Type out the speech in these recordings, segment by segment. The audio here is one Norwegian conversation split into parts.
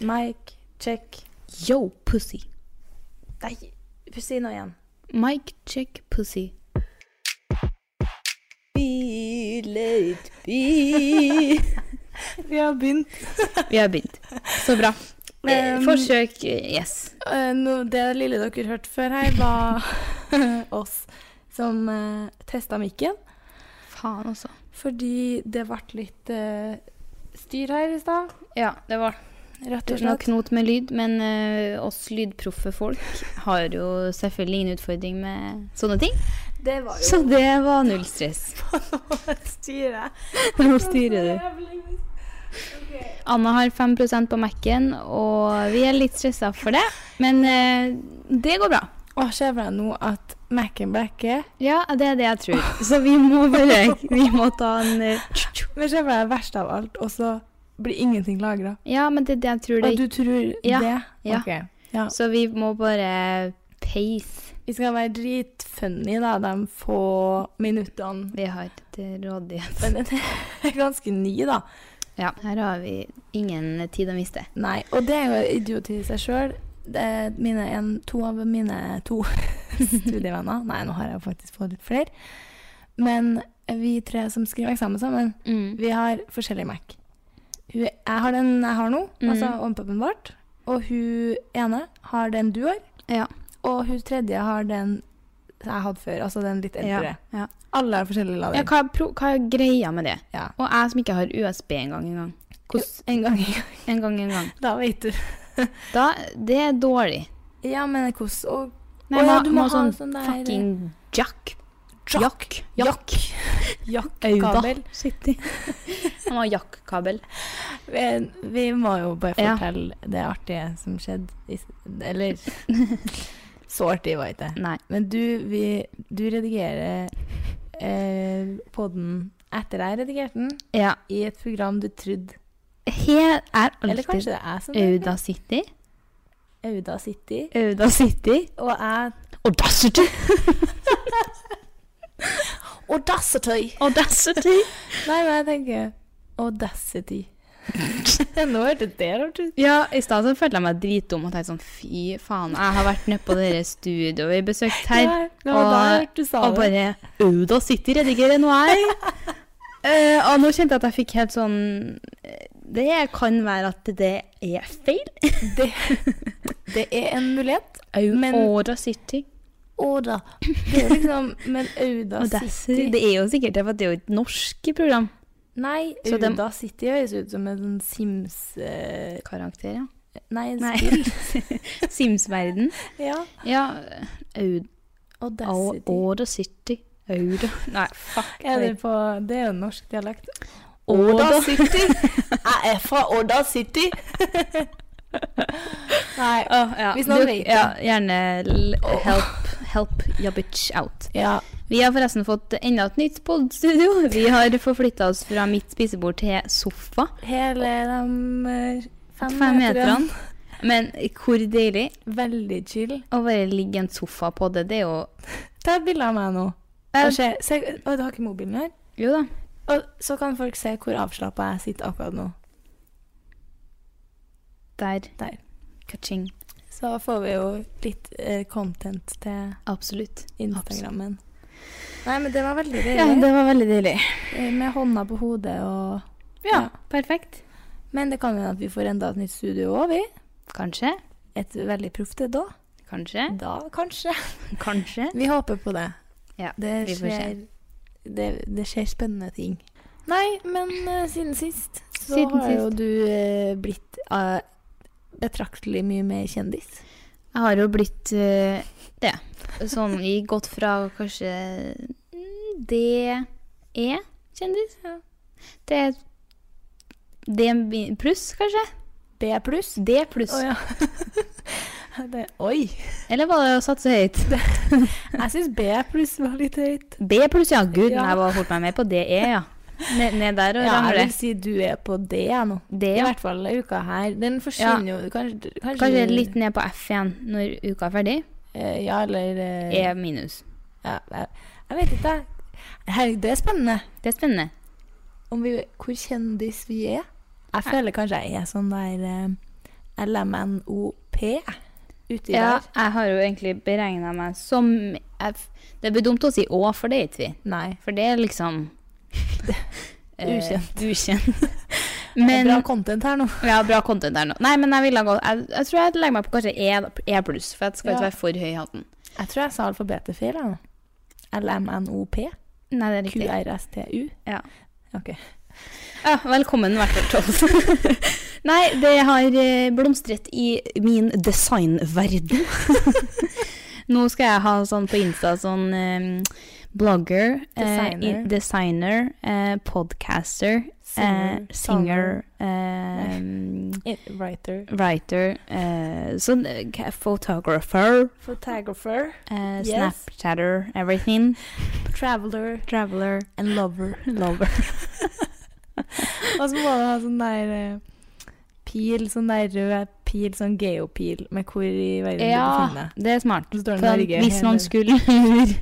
Mike, check. Yo, pussy. Nei, si noe igjen. Mike, check, pussy. Be late, be Vi har begynt. Vi har begynt. Så bra. Eh, Um, Forsøk eh, yes. Eh, no, det lille dere hørte før her, var oss som uh, testa mikken. Faen, altså. Fordi det ble litt eh, styr her i stad, Ja, det var rett og noe slett. knot med lyd, men eh, oss lydproffe folk har jo selvfølgelig ingen utfordring med sånne ting. Det var Så det var null stress. jo styret. Nå styrer du. Anna har 5 på Mac-en, og vi er litt stressa for det. Men eh, det går bra. Og ser jeg nå at Mac-en blekker. Ja, det er det jeg tror. Så vi må bare Vi må ta en eh, Men ser jeg det verste av alt, og så blir ingenting lagra. Ja, men det er det jeg tror det Og du tror Ja, det? ja. Ok. Ja. Så vi må bare pace. Vi skal være dritfunny da, de få minuttene. Vi har til rådighet. Men den er ganske ny, da. Ja, her har vi ingen tid å miste. Nei, og det er jo idioti i seg sjøl. Mine, en- to av mine to studievenner Nei, nå har jeg faktisk fått litt flere. Men vi tre som skriver eksamen sammen, vi har forskjellig Mac. Hun, jeg har den jeg har nå, Mm. altså OnePuben vårt. Og hun ene har den du har. Ja. Og hun tredje har den jeg hadde før, altså den litt eldre. ja. Alle har forskjellig Ja, lader. hva, er pro hva er greia med det? Ja. Og jeg som ikke har USB en gang en gang. Hvordan- En gang, En gang en gang. da vet du. Da, det er dårlig. Ja, men hvordan og Nei, Å ja, må- du må må ha sånn sånn der- fucking jack. Jack. Jack. Jack-kabel. City. Jeg må ha jack-kabel. Vi, vi må jo bare Ja. fortelle det artige som skjedde. i s- Eller Så artig var ikke det. Nei. Men du, vi, du redigerer eh, podden etter jeg redigerte den, Ja. i et program du trodde He er Eller alltid kanskje det er jeg som Auda City. Auda City. Auda City. Og jeg Audacity! Audacity! Audacity! Nei, men jeg tenker Audacity. Nå hørtes det rart ut. Ja, i stad så følte jeg meg dritdum og tenkte sånn fy faen, jeg har vært nede på dere studio vi besøkte her, Ja, det var da jeg hørte du sa det. og bare Auda City redigerer nå, jeg. Eh, og nå kjente jeg at jeg fikk helt sånn eh, Det kan være at det er feil. Det er en mulighet. Men- Auda City. Auda. Det er liksom Men Auda Audacity. City Det er jo sikkert det, for det er jo et norsk program. Nei, Så dem- Auda City høres ut som en sånn Sims eh, Karakter, ja. Nei, en Nei. spill. Sims-verden. Ja. Ja. Aud- Au- Audacity. Auda City. Auda Nei, fuck. Er det, på, det er jo norsk dialekt. Auda City! Jeg er fra Odda City! Nei. Åh, ja. Hvis noen Du- vet det. ja, gjerne l- help, help your bitch out. Ja. Vi har forresten fått enda et nytt podstudio. Vi har forflytta oss fra mitt spisebord til sofa. Hele de eh, fem, Fem meterne. meterne. Men hvor deilig Veldig chill. å bare ligge i en sofa på det. Det er jo Ta et bilde av meg nå. Eh, Og se, se, Oi, du har ikke mobilen her? Jo da. Og så kan folk se hvor avslappa jeg sitter akkurat nå. Der. Der. Kaching. Så får vi jo litt eh, content til Absolutt. Instagrammen. Nei, men det var veldig deilig. Ja, det var veldig deilig. Eh, Med hånda på hodet og Ja, perfekt. Men det kan hende at vi får enda et nytt studio òg, vi. Kanskje. Et veldig proft et da. Kanskje. Da, kanskje. Kanskje. Vi håper på det. Ja, det vi får se. skjer, det, det skjer spennende ting. Nei, men eh, siden sist så Siden har jo du eh, blitt eh, betraktelig mye mer kjendis. Jeg har jo blitt eh, det. Sånn i gått fra kanskje mm, DE, kjendis, Ja. til D pluss, kanskje? B pluss. D pluss. Å ja. det, oi. Eller var det å satse høyt? Jeg syns B pluss var litt høyt. B pluss, ja. Gud, Ja. jeg var fort meg med på DE, ja. Ned, ned der og Ja, jeg ramle. vil si du er på D jeg, nå. D, I ja. hvert fall uka her. Den forsvinner jo kanskje, kanskje, Kanskje litt ned på F igjen når uka er ferdig. eh, Ja, eller eh, E minus. ja, jeg, jeg vet ikke, jeg. Herregud, det er spennende. Det er spennende. Om vi, hvor kjendis vi er. Jeg føler kanskje jeg er sånn der eh, LMNOP uti Ja, der. jeg har jo egentlig beregna meg som F. Det blir dumt å si Å, for det er ikke vi. Nei. For det er liksom eh, Ukjent. ukjent. Men, Men bra content her nå. Ja, bra content der nå. Nei, men jeg, ville gå, jeg, jeg tror jeg legger meg på kanskje E, e pluss, for jeg Ja. skal ikke være for høy i hatten. Jeg tror jeg sa alfabetet feil. jeg, nå. LMNOP. Nei, det er riktig. QRSTU. Ja, velkommen i hvert fall, Trolls. Nei, det har eh, blomstret i min designverden. Nå skal jeg ha sånn på Insta sånn eh, blogger, eh, i- Designer. designer eh, podcaster, eh, Singer. singer, eh, sanger, Writer. writer, eh, sånn, eh, photographer, Photographer. eh, Yes. snapchatter, everything, Traveler. traveler. And lover. Lover. Og så må du ha sånn der eh, pil, sånn der rød pil, sånn geopil, med hvor i verden du Ja. befinner deg. Det er smart. Så står det For Norge. hvis noen hele- skulle lure,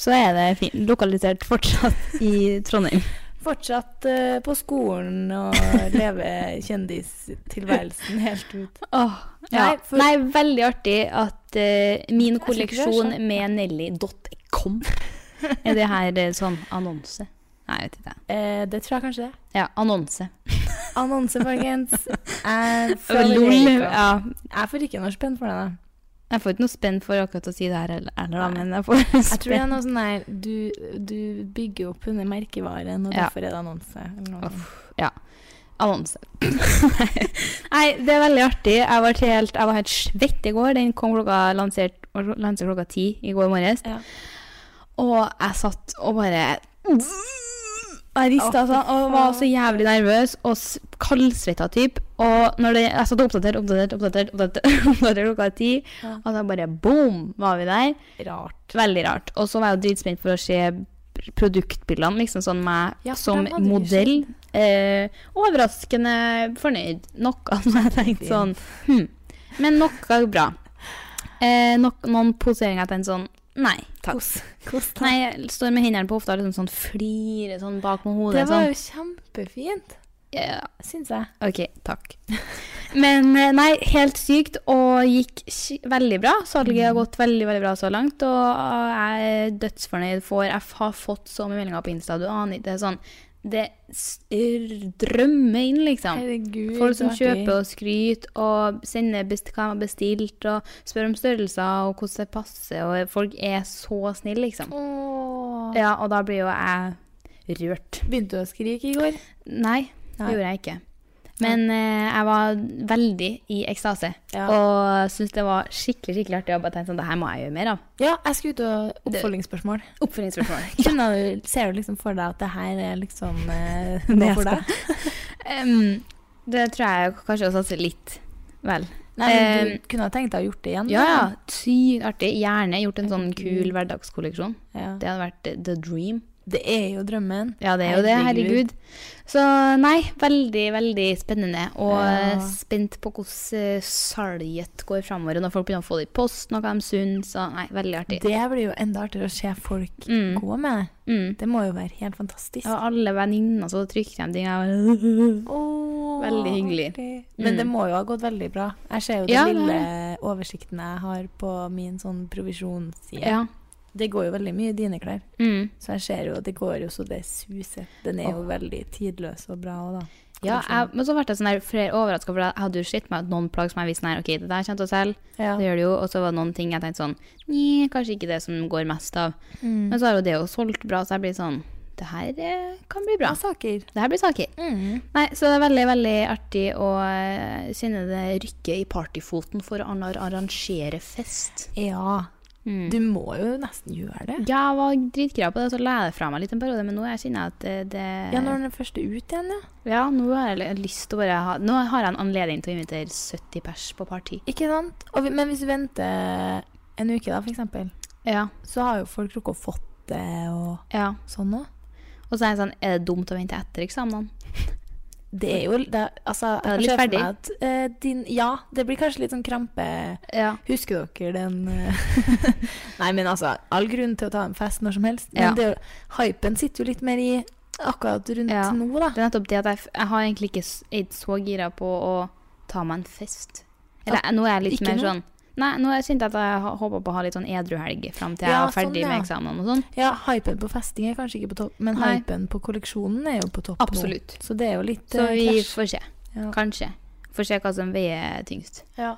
så er det fint. Lokalisert fortsatt i Trondheim. Fortsatt eh, på skolen og leve kjendistilværelsen helt ut. ja. Nei, Nei, for- veldig artig at eh, min Jeg tror ikke det er sånn. kolleksjon sant. med Nelly.com Er det her eh, sånn annonse? Nei, jeg vet ikke. Eh, det tror jeg kanskje det. Ja, annonse. Annonse, folkens. Jeg Og føler lol. ikke- Ja. Jeg får ikke noe spenn for det. da. Jeg får ikke noe spenn for akkurat å si det her heller, heller da, Nei. men jeg får Jeg tror det spenn. er noe sånn der Du, du bygger opp under merkevaren, og Ja. derfor er det annonse. Eller noe. sånt. Annonse. Nei, det er veldig artig. Jeg var helt, jeg var helt svett i går. Den kom klokka, lansert, lansert klokka ti i går morges. Ja. Og jeg satt og bare Jeg rista Å, fy sånn og var så jævlig nervøs og s- kaldsvetta type. Og når det, jeg satt og oppdaterte, oppdaterte, oppdaterte, oppdaterte, oppdaterte klokka ti, Ja. og da bare boom, var vi der. Rart. Veldig rart. Og så var jeg jo dritspent for å se produktbildene, liksom sånn meg Ja, for som dem hadde vi modell. Eh, overraskende fornøyd. Noe som jeg tenkte sånn hm. Men noe bra. Eh, nok, noen poseringer jeg tenkte sånn Nei takk. Kos. Kos da. Nei, jeg står med hendene på hofta liksom sånn flire sånn bak med hodet. det var sånn. jo kjempefint, Ja, syns jeg. OK, takk. Men eh, nei, helt sykt, og gikk sk- veldig bra. Salget Mm. har gått veldig veldig bra så langt, og eh, jeg er dødsfornøyd for Jeg f- har fått så mye meldinger på Insta, du aner ikke. Det er sånn Det s- r- drømmer inn, liksom. Herregud. Folk som så artig. kjøper og skryter og sender best hva de har bestilt, og spør om størrelser og hvordan det passer, og folk er så snille, liksom. Åh. Ja, og da blir jo jeg rørt. Begynte du å skrike i går? Nei, det Nei. gjorde jeg ikke. Men eh, jeg var veldig i ekstase. Ja. Og syntes det var skikkelig skikkelig artig jobb. Jeg tenkte sånn, det her må jeg gjøre mer av. Ja, jeg skulle ut og oppfølgingsspørsmål. Oppfølgingsspørsmål. Kunne du, ser du liksom for deg at det her er liksom eh, noe for deg? Em, det tror jeg kanskje å satse litt. Vel. Nei, men du kunne ha tenkt deg å gjort det igjen? Ehm, liksom. Ja, ja. Sykt artig. Gjerne gjort en sånn Herregud. kul hverdagskolleksjon. ja. Det hadde vært eh, the dream. Det er jo drømmen. Ja, det er jo det. Herregud. Herregud. Så nei, veldig, veldig spennende. Og Ja. spent på hvordan eh, salget går framover. Når folk begynner å få det i posten, og hva de syns. Og nei, veldig artig. Det blir jo enda artigere å se folk Mm. gå med det. Mm. Det må jo være helt fantastisk. Og alle venninner så trykker de ting. jeg bare- Åh, Veldig hyggelig. artig. Men det Mm. må jo ha gått veldig bra. Jeg ser jo den Ja, det lille oversikten jeg har på min sånn provisjonsside. Ja. Det går jo veldig mye i dine klær. Mm. Så jeg ser jo, det går jo så det suser. Den er jo veldig tidløs og bra òg, da. ja Kolleksjonen. jeg, men så ble jeg sånn der flere overraska, for jeg hadde jo sett meg at noen plagg som jeg visste nei, OK, det der kommer til å selge. Det ja. gjør det jo. Og så var det noen ting jeg tenkte sånn Nei, kanskje ikke det som går mest av. Mm. Men så har jo det jo solgt bra, så jeg blir sånn Det her eh, kan bli Bra bra. saker. Det her blir saker. Mm. Nei, så det er veldig, veldig artig å eh, kjenne det rykke i partyfoten for å arra- arrangere fest. Ja. Mm. Du må jo nesten gjøre det. Ja, jeg var dritgira på det, og så la jeg det fra meg litt en periode, men nå jeg kjenner jeg at eh, det Ja, når den er først ut igjen, ja. Ja, nå har jeg li- lyst til å bare ha Nå har jeg en anledning til å invitere 70 pers på party. Ikke sant? Og, vi- men hvis du venter en uke, da, for eksempel, Ja. så har jo folk rukket å fått det og ja. sånn òg. Og så er jeg sånn Er det dumt å vente etter eksamenene? Det er jo det, altså, Da jeg er det kan se litt for meg At, eh, din, ja, det blir kanskje litt sånn krampe Ja. Husker dere den eh, Nei, men altså, all grunn til å ta en fest når som helst. Men Ja. det er jo, hypen sitter jo litt mer i akkurat rundt Ja. nå, da. Det er nettopp det at jeg, f- jeg har egentlig ikke s- er ikke så gira på å ta meg en fest. Eller nå er jeg litt Ikke mer nå? sånn Nei, nå har jeg kjent at jeg har- håper på å ha litt sånn edruhelg fram til jeg Ja, er sånn, ferdig ja. med eksamen og sånn. Ja, hypen på festing er kanskje ikke på topp, men Nei. hypen på kolleksjonen er jo på topp Absolutt. nå. Så det er jo litt Så eh, vi krasj. får se. Ja. Kanskje. Får se hva som veier tyngst. Ja.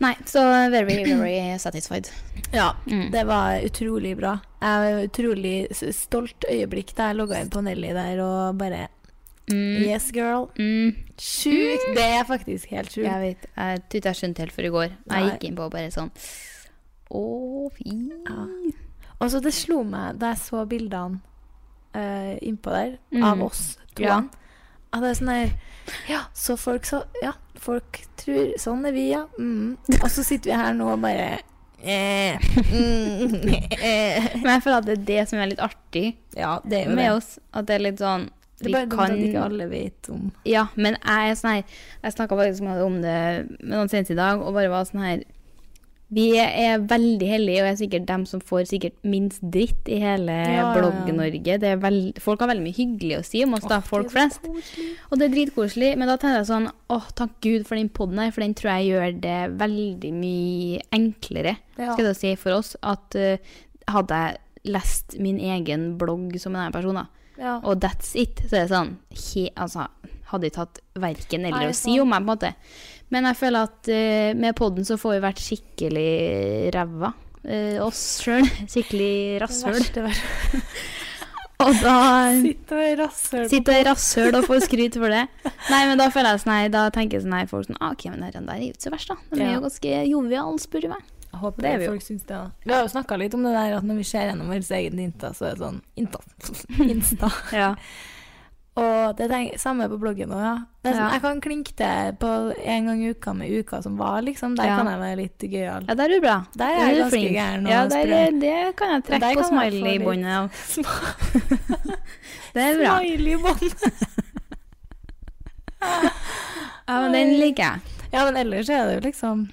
Nei, så very, very satisfied. ja. Mm. Det var utrolig bra. Jeg var utrolig s- stolt øyeblikk da jeg logga inn på Nelly der og bare Mm. Yes, girl. Mm. Sjukt! Det er faktisk helt sjukt. Jeg vet, jeg tror ikke jeg skjønte helt før i går. Jeg Nei. gikk inn på og bare sånn Å, fy. Ja. Og så Altså, det slo meg da jeg så bildene eh, innpå der, av Mm. oss to. Ja. At det er sånn her Ja, så folk så Ja, folk tror Sånn er vi, ja. Mm. Og så sitter vi her nå og bare eh, mm, eh. Men jeg føler at det er det som er litt artig Ja, det er jo det. med oss. At det er litt sånn Det er Vi bare dumt at ikke kan alle vet om Ja, men jeg er sånn her Jeg snakka faktisk med- om det med noen senest i dag, og bare var sånn her Vi er veldig heldige, og er sikkert dem som får sikkert minst dritt i hele Ja, ja, ja. Blogg-Norge. Det er veld- Folk har veldig mye hyggelig å si om oss, da, folk flest. Og det er dritkoselig, men da tenker jeg sånn åh, takk Gud for den poden her, for den tror jeg gjør det veldig mye enklere Ja. skal jeg da si, for oss. At eh, hadde jeg lest min egen blogg som en annen person, da, ja. og that's it, så er det sånn he, Altså, hadde ikke hatt verken Nei, eller å det er si sant. om meg, på en måte. Men jeg føler at eh, med poden så får vi vært skikkelig ræva. eh, oss sjøl. Skikkelig rasshøl. Verste, verste. Og da Sitt og rasshøl. Sitte i rasshøl og få skryt for det. Nei, men da føler jeg sånn her, da tenker jeg sånn her, folk sånn, ah, ok, men herren der er jo ikke så verst da. De er Ja. jo ganske jovial, spør du meg. Jeg håper Det er vi jo. folk syns det. da. Vi har jo snakka litt om det der at når vi ser gjennom vår egen Insta, så er det sånn Insta. Insta. Ja. Og det er det samme på bloggen òg, ja. Det er sånn, Ja. Jeg kan klinke til på en gang i uka med uka som var, liksom. Der Ja. kan jeg være litt gøyal. Ja, der er du bra. Der Der er er jeg du ganske flink. gæren og Ja, der, sprø. er- det kan jeg trekke Der på kan jeg få smiley-båndet av. Det er bra. Smiley bånd. Ja, men den liker jeg. Ja, men ellers er det jo liksom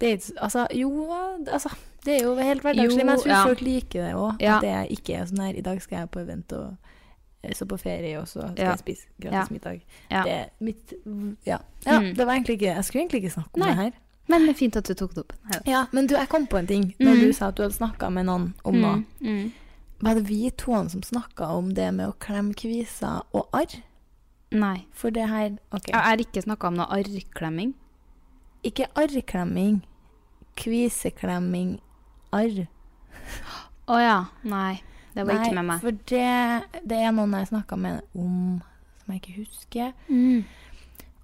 det er, ikke- Altså, jo altså, Det er jo helt hverdagslig, Jo, men jeg tror ja. folk liker det òg. Ja. At det ikke er sånn her I dag skal jeg på event og eh, så på ferie, og så skal Ja. jeg spise gratis Ja. middag. Ja. Det er mitt Ja. ja Mm. Det var egentlig ikke Jeg skulle egentlig ikke snakke om Nei. det her. Men det er fint at du tok det opp. Neida. Ja, men du, jeg kom på en ting. Når Mm. du sa at du hadde snakka med noen om noe. Mm, mm. Var det vi to som snakka om det med å klemme kviser og arr? Nei. For det her Ok. Jeg har ikke snakket om noe arrklemming. Ikke arrklemming. Kviseklemming. Arr. Åja, nei. Det var ikke med meg. for det, det er noen jeg snakka med om som jeg ikke husker. Mm.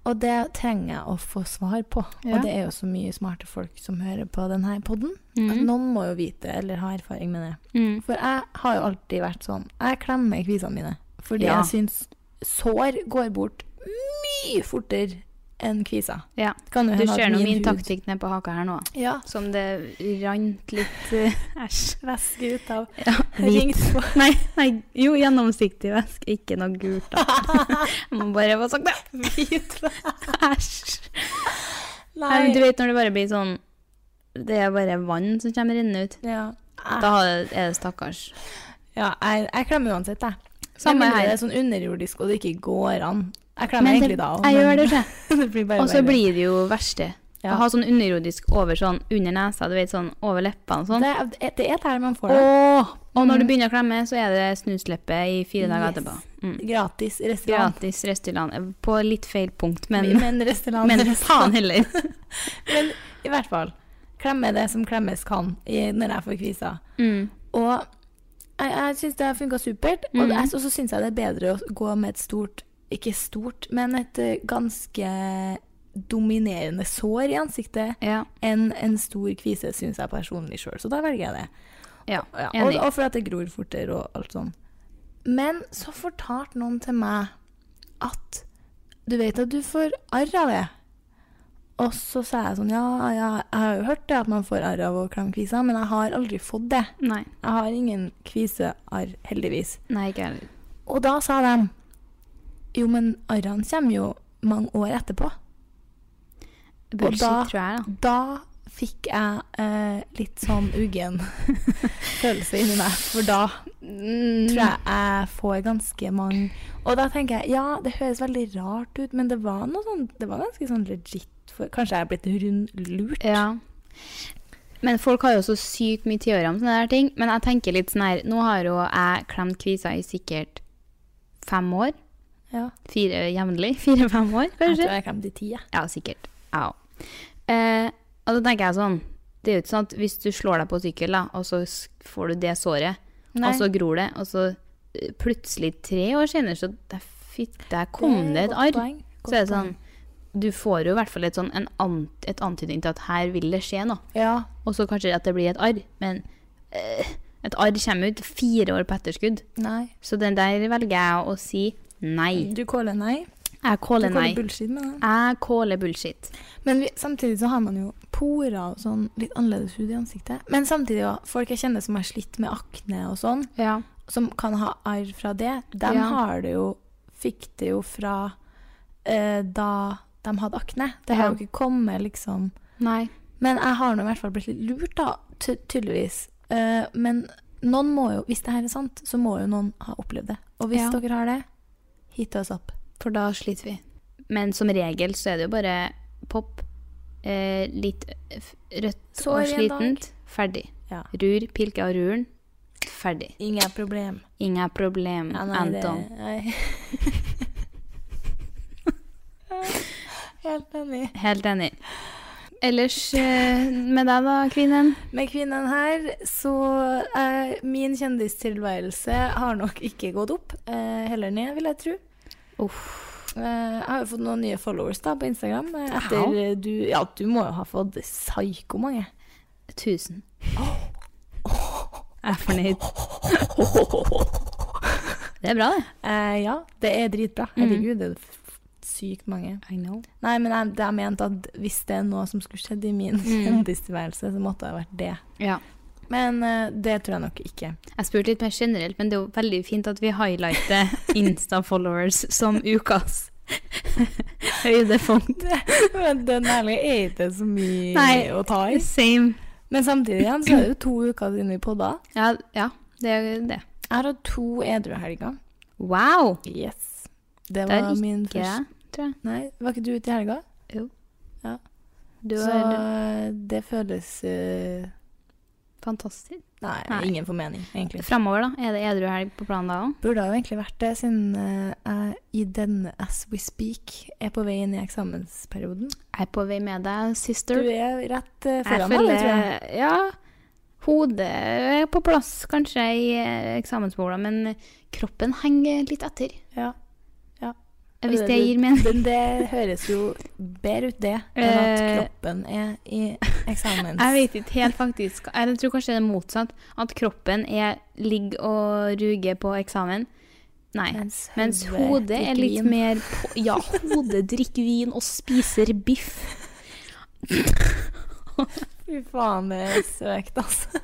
Og det trenger jeg å få svar på. Ja. Og det er jo så mye smarte folk som hører på denne poden. At Mm. noen må jo vite det, eller ha erfaring med det. Mm. For jeg har jo alltid vært sånn Jeg klemmer kvisene mine. Fordi Ja. jeg syns sår går bort mye fortere enn kviser. Ja. Det kan jo Du hende at ser nå min hud- taktikk ned på haka her nå. Ja. Som det rant litt eh, Æsj. Væske ut av Ja, Ring på. Nei, nei, jo, gjennomsiktig væske. Ikke noe gult, da. Jeg Må bare få sagt det. Hvit væske. Æsj. Nei, Nei. men Du vet når det bare blir sånn Det er bare vann som kommer rennende ut. Ja. Da er det stakkars. ja jeg, jeg klemmer uansett, jeg. Samme Med mindre Det her. er sånn underjordisk, og det ikke går an. Jeg klemmer Men det, egentlig da òg. jeg gjør det ikke. det blir bare Og så verre. blir det jo verste. Ja. Å ha sånn underjordisk over sånn under nesa, du vet sånn over leppene og sånn. det, er- det er der man får det. Åh, og når Mhm. du begynner å klemme, så er det snusleppe i fire dager Yes. etterpå. Mm. Gratis restaurant. Gratis restaurant. På litt feil punkt, men, men restaurant. men restaurant. faen heller. Men i hvert fall, klemme det som klemmes kan i, når jeg får kviser. Mm. Og jeg, jeg syns det har funka supert. Og Mhm. det- jeg- og så syns jeg det er bedre å gå med et stort Ikke stort, men et eh, ganske dominerende sår i ansiktet Ja. enn en stor kvise, syns jeg personlig sjøl. Så da velger jeg det. ja. Ja, og, Enig. og for at det gror fortere og alt sånn. Men så fortalte noen til meg at du vet at du får arr av det. Og så sa jeg sånn, ja, ja, jeg har jo hørt det at man får arr av å klemme kvisa, men jeg har aldri fått det. Nei. Jeg har ingen kvisearr, heldigvis. Nei, ikke jeg heller. Og da sa de, jo, men arrene kommer jo mange år etterpå. Bullshit, da- tror jeg, da. Da fikk jeg eh, litt sånn uggen følelse inni meg. For da Mm. tror jeg jeg får ganske mange Og da tenker jeg ja, det høres veldig rart ut, men det var noe sånn Det var ganske sånn legit for Kanskje jeg er blitt rund lurt. Ja. Men folk har jo så sykt mye teorier om sånne der ting. Men jeg tenker litt sånn her Nå har jo jeg klemt kviser i sikkert fem år. Ja. Fire jevnlig. Fire-fem år, Jeg kanskje. tror jeg kommer til ti, jeg. Ja, sikkert. Ja. Eh, og da tenker jeg sånn Det er jo ikke sånn at hvis du slår deg på sykkel, da, og så s- får du det såret, og Altså, så gror det, og så eh, plutselig tre år senere, så der, fitt, der kom det et arr. Så er det sånn Du får jo i hvert fall et sånn en ant, et antydning til at her vil det skje noe. Ja. Og så kanskje at det blir et arr, men eh, et arr kommer ut fire år på etterskudd. Nei. Så den der velger jeg å si nei. Du caller nei. Jeg Du caller nei. caller bullshit med det. Jeg caller bullshit. Men vi, samtidig så har man jo porer og sånn litt annerledes hud i ansiktet. Men samtidig òg folk jeg kjenner som har slitt med akne og sånn, Ja. som kan ha arr fra det, de Ja. har det jo Fikk det jo fra eh, da de hadde akne. Det har Ja. jo ikke kommet, liksom. Nei. Men jeg har nå i hvert fall blitt litt lurt, da, ty tydeligvis. Eh, men noen må jo, hvis det her er sant, så må jo noen ha opplevd det. Og hvis Ja. dere har det, hit oss opp. For da sliter vi. Men som regel så er det jo bare pop, eh, litt f- rødt Sår og i en dag. slitent, ferdig. Ja. Rur, pilke av ruren, ferdig. Ingen problem. Ingen problem, Ja, nei, det- Anton. nei. Helt enig. Helt enig. Ellers eh, med deg da, kvinnen? Med kvinnen her, så eh, Min kjendistilværelse har nok ikke gått opp. Eh, heller ned, vil jeg tro. Eh, jeg har jo fått noen nye followers da på Instagram. eh, How? etter eh, du, ja, du må jo ha fått psyko mange. 1000. Jeg er fornøyd. Det er bra, det. Eh, ja, det er dritbra. Herregud, det er f- sykt mange. I know. Nei, men jeg, det jeg mente at hvis det er noe som skulle skjedd i min kjendistilværelse, så måtte det ha vært det. Ja. Men eh, det tror jeg nok ikke. Jeg spurte litt mer generelt, men det er jo veldig fint at vi highlighter Insta-followers som ukas høydepunkt. Men den ærlig er ikke så mye Nei. å ta i. Same. Men samtidig igjen så er det jo to uker siden vi podda. Ja, ja det er jo det. Jeg har hatt to edru helger. Wow! Yes. Det Det er var min Ikke første jeg, tror jeg. Nei, var ikke du ute i helga? Du så er det føles eh, fantastisk. nei, Nei. ingen formening, egentlig. Framover, da? Er det edru helg på planen da òg? Burde ha jo egentlig vært det, siden eh, jeg i denne as we speak er på vei inn i eksamensperioden. Jeg er på vei med deg, Du sister. er rett eh, Jeg foran meg, det tror jeg. føler- Ja. Hodet er på plass, kanskje, i eh, eksamensbola, men kroppen henger litt etter. Ja. Ja. Hvis det gir mening. Men det høres jo bedre ut, det, enn at Eh, kroppen er i eksamens... Jeg vet ikke helt faktisk. Jeg tror kanskje det er motsatt. At kroppen er ligg og ruger på eksamen. Nei. Mens, Mens hodet drikker er litt vin. mer på, Ja, hodet drikker vin og spiser biff. Fy faen, det er søkt, altså.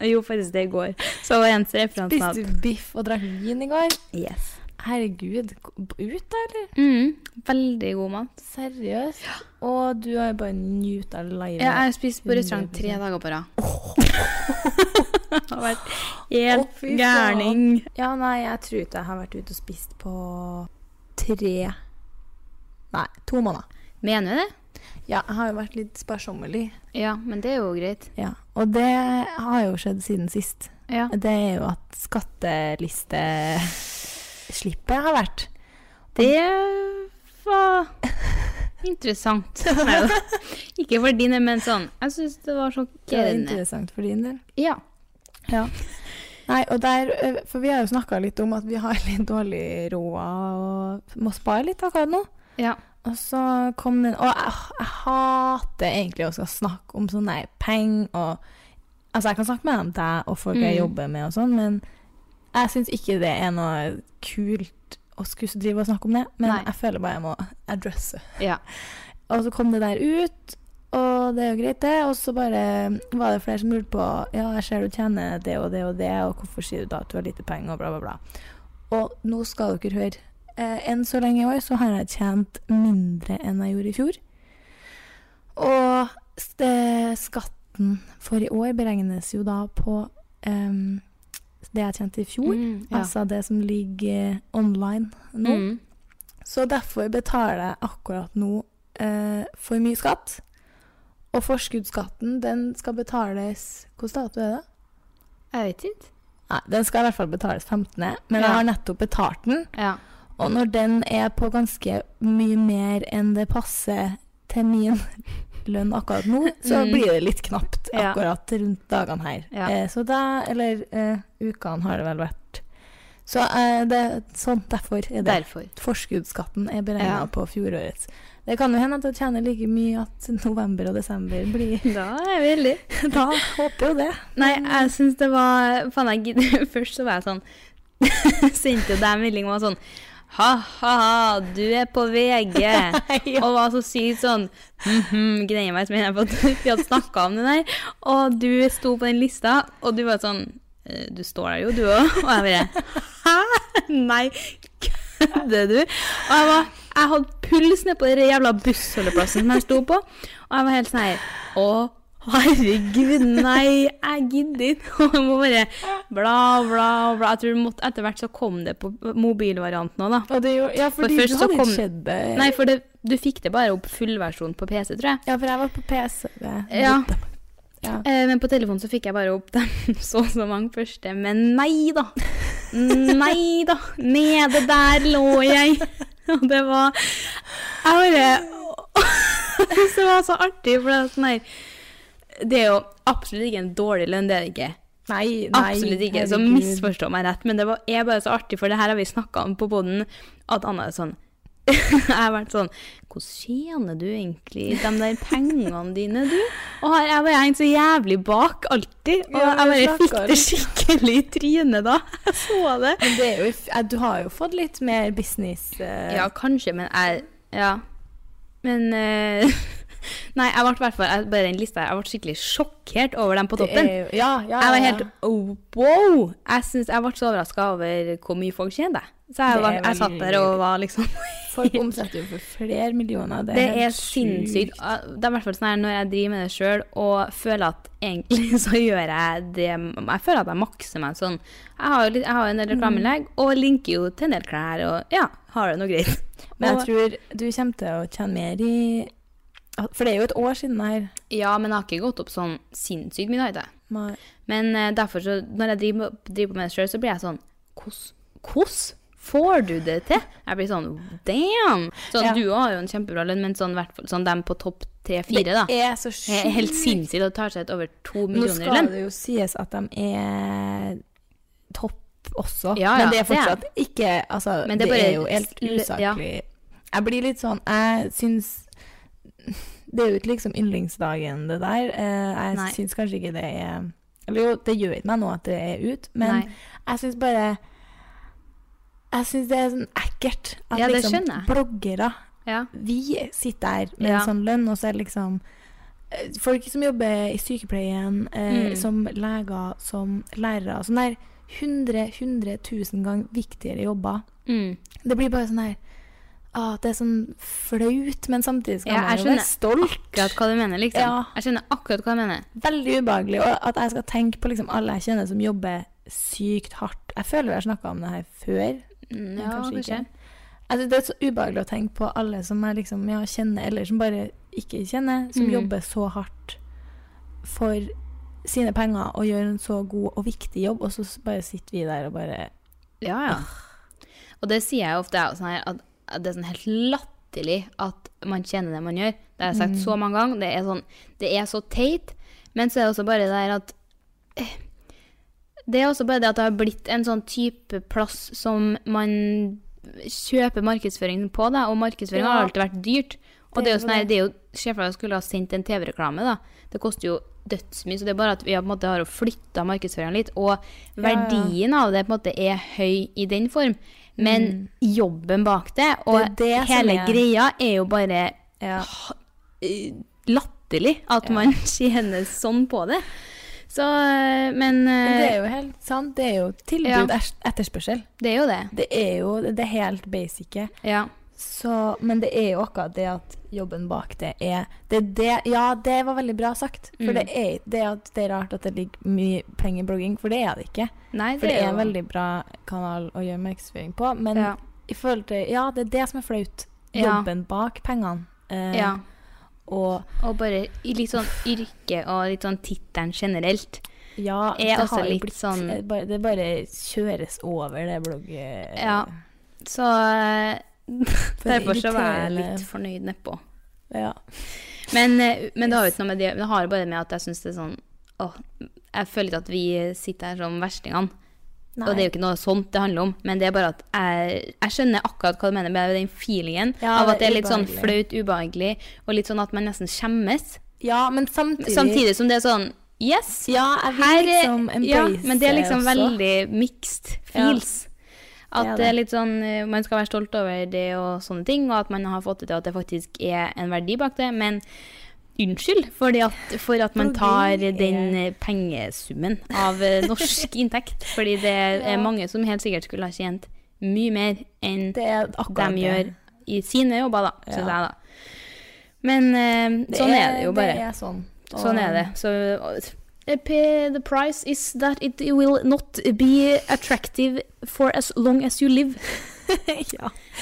jo, faktisk det i går. Så var eneste referansen Spiste du biff og drakk vin i går? at yes. Herregud, ut da, eller? mm, Veldig god mat. Seriøst? Og du har jo bare nyta livet. Ja, jeg har spist på restaurant tre 100%. dager på rad. Det har vært helt Å, fy faen. gærning. Ja, nei, jeg tror ikke jeg har vært ute og spist på tre Nei, to måneder. Mener du det? Ja, jeg har jo vært litt sparsommelig. Ja, men det er jo greit. Ja. Og det har jo skjedd siden sist. Ja. Det er jo at skattelisteslippet har vært. Det var interessant. Neida. Ikke for dine, men sånn. Jeg syns det var Det er sjokkerende. interessant for din del. Ja. Nei, og der, eh, for vi har jo snakka litt om at vi har litt dårlig råd og må spare litt akkurat nå. ja. Og så kom den Og jeg, jeg hater egentlig å skal snakke om sånn der penger og Altså, jeg kan snakke med dem deg og folk jeg Mm. jobber med og sånn, men jeg syns ikke det er noe kult å skulle drive og snakke om det. Men Nei. jeg føler bare jeg må addresse. Ja. Og så kom det der ut, og det er jo greit, det. Og så bare var det flere som lurte på Ja, jeg ser du tjener det og det og det, og hvorfor sier du da at du har lite penger, og bla, bla, bla. Og nå skal dere høre. Eh, enn så lenge i år så har jeg tjent mindre enn jeg gjorde i fjor. Og s- eh, skatten for i år beregnes jo da på em, det jeg tjente i fjor. Mm, ja. Altså det som ligger eh, online nå. Mm. Så derfor betaler jeg akkurat nå eh, for mye skatt. Og forskuddsskatten, den skal betales Hvilken dato er det? Jeg vet ikke. Nei, den skal i hvert fall betales 15., men Ja. jeg har nettopp betalt den. Ja. Og når den er på ganske mye mer enn det passer til min lønn akkurat nå, så Mm. blir det litt knapt Ja. akkurat rundt dagene her. Ja. Eh, så da, eller eh, ukene har det vel vært. Så eh, det, sånn derfor er det. Derfor. Forskuddsskatten er beregna Ja. på fjorårets. Det kan jo hende at jeg tjener like mye at november og desember blir Da er vi heldige. Da håper jo det. Nei, jeg syns det var Faen, jeg gidder Først så var jeg sånn Sendte jo deg en melding og var sånn Ha-ha, du er på VG. Og var så sykt sånn mhm, Greier meg som jeg på at vi hadde snakka om det der. Og du sto på den lista, og du var sånn «Eh, Du står der jo, du òg. Og jeg bare Hæ? Nei, kødder du? Og jeg var jeg hadde puls nede på den jævla bussholdeplassen som jeg sto på. Og jeg var helt sånn her Å, herregud, nei, jeg gidder ikke. Og jeg må bare bla, bla, bla. Jeg tror det måtte, etter hvert så kom det på mobilvarianten òg, da. Og det gjorde, ja, fordi først du så hadde kom- ikke eh. sett det. Nei, for det, du fikk det bare opp fullversjon på PC, tror jeg. Ja, for jeg var på PC. Ja. Ja. Eh, men på telefonen så fikk jeg bare opp dem så og så mange første. Men nei da! Nei da! Nede der lå jeg! Og det var Jeg bare Så det var så artig, for det er sånn her Det er jo absolutt ikke en dårlig lønn, det er det ikke. Nei, nei. Absolutt ikke. Så herregud. misforstå meg rett, men det var, er bare så artig, for det her har vi snakka om på poden, at Anna er sånn jeg har vært sånn Hvordan tjener du egentlig de der pengene dine, du? Og her, jeg bare hengt så jævlig bak, alltid. Og Ja, vi jeg bare fikk snakker det skikkelig i trynet da. Jeg så det. Men det er jo, eh, du har jo fått litt mer business eh, Ja, kanskje, men jeg Ja. Men eh, Nei, jeg ble i hvert fall jeg- Bare den lista her. Jeg ble skikkelig sjokkert over dem på det toppen. er jo- Ja, ja, Jeg var ja, ja. helt oh, wow! Jeg, synes, jeg ble så overraska over hvor mye folk tjener. Så jeg, Det var, er jeg satt der og var liksom Folk omsetter jo for flere millioner. Det Det er, er, helt sjukt. sinnssykt. Det er i hvert fall sånn her når jeg driver med det sjøl og føler at egentlig så gjør jeg det Jeg føler at jeg makser meg sånn. Jeg har jo litt, jeg har jo en del reklameinnlegg og linker jo til en del klær og ja, har det noe greit. Men jeg Og- tror du kommer til å tjene mer i For det er jo et år siden her. Ja, men jeg har ikke gått opp sånn sinnssykt mye, da. vet jeg. Nei. Men eh, derfor så, når jeg driver, driver på med det sjøl, så blir jeg sånn Hvordan hvordan får du det til? Jeg blir sånn damn! Sånn, Ja. Du har jo en kjempebra lønn, men sånn, hvert fall- sånn dem på topp tre-fire, da. Det er så Det er sjukt. helt sinnssykt å ta seg et over to Nå millioner i skal lønn. det jo sies at de er topp også, Ja, ja, men det det er. er fortsatt ikke Altså, Men det, det er bare- er jo helt l- ja. usaklig. Jeg blir litt sånn Jeg syns Det er jo ikke liksom yndlingsdagen, det der. Eh, Nei. Jeg syns kanskje ikke det er Eller jo, det gjør ikke meg noe at det er ut, men Nei. Jeg syns bare Jeg syns det er sånn ekkelt at Ja, det liksom skjønner jeg. bloggere Ja. Vi sitter der med Ja. en sånn lønn, og så er det liksom eh, Folk som jobber i sykepleien, eh, Mm. som leger, som lærere Sånn der 100 100 000 ganger viktigere jobber. Mm. Det blir bare sånn her ah, Det er sånn flaut, men samtidig skal Ja, man jeg jo skjønner være stolt. Akkurat hva du mener, liksom. Ja. Jeg skjønner akkurat hva du mener. Veldig ubehagelig. Og at jeg skal tenke på liksom alle jeg kjenner som jobber sykt hardt. Jeg føler vi har snakka om det her før. Mm, Men Ja, kanskje, Altså, det er så ubehagelig å tenke på alle som jeg liksom, ja, kjenner, eller som bare ikke kjenner, som Mm. jobber så hardt for sine penger og gjør en så god og viktig jobb, og så s- bare sitter vi der og bare Ja, ja. Og det sier jeg jo ofte, jeg er jo sånn her, at at det er sånn helt latterlig at man tjener det man gjør. Det har jeg sagt så mange ganger. Det er, sånn, det er så teit. Men så er det også bare det der at eh, Det er også bare det at det har blitt en sånn type plass som man kjøper markedsføring på, da. Og markedsføring har Ja. alltid vært dyrt. Og det er jo sånn her, det er jo Se for deg at jeg skulle ha sendt en TV-reklame, da. Det koster jo dødsmye. Så det er bare at vi har, på en måte, har flytta markedsføringa litt. Og verdien av det på en måte er høy i den form, men jobben bak det, og Mm. Det er det som hele er- greia, er jo bare ja. eh, latterlig at man tjener sånn på det. Så eh, Men Men det eh, er jo helt sant. Det er jo tilbud, Ja. ers- etterspørsel. det er jo det. Det er jo det helt basice. Ja. Så, men det er jo akkurat det at jobben bak det er, det er det, Ja, det var veldig bra sagt. For Mm. det, er, det, er, at det er rart at det ligger mye penger i blogging, for det er det ikke. Nei, For det er jo- en veldig bra kanal å gjøre markedsføring på. Men ja. i forhold til Ja, det er det som er flaut. Ja. Jobben bak pengene. Eh, ja. Og Og bare i litt sånn yrke og litt sånn tittelen generelt. ja, Er det også har jo litt blitt sånn- eh, bare- Det bare kjøres over, det blogg... eh, Ja. Så eh, for derfor så var jeg irriterende- litt fornøyd nedpå. Ja. Men, eh, men det har jo ikke noe med det Det har bare med at jeg syns det er sånn åh, Jeg føler ikke at vi sitter her som verstingene. Og det er jo ikke noe sånt det handler om, men det er bare at jeg, jeg skjønner akkurat hva du mener med den feelingen Ja, av at det det er er litt sånn ubehagelig. flaut, ubehagelig, og litt sånn at man nesten skjemmes. Ja, men samtidig, Samtidig som det er sånn Yes! Ja, jeg vil Her, eh, liksom embrace ja, men det er liksom også. veldig mixed feels. At det er det er litt sånn, eh, man skal være stolt over det og sånne ting, og at man har fått det til at det faktisk er en verdi bak det. Men unnskyld fordi at, for at man tar Blogging er- den eh, pengesummen av eh, norsk inntekt. Fordi det Ja. er mange som helt sikkert skulle ha tjent mye mer enn Det er akkurat de det. gjør i sine jobber, da, Ja. synes jeg, da. Men eh, sånn er, det jo bare. Det er sånn. Og- Sånn er det. Så eh, p- The price is that it will not be attractive for as long as you live. ja. Jeg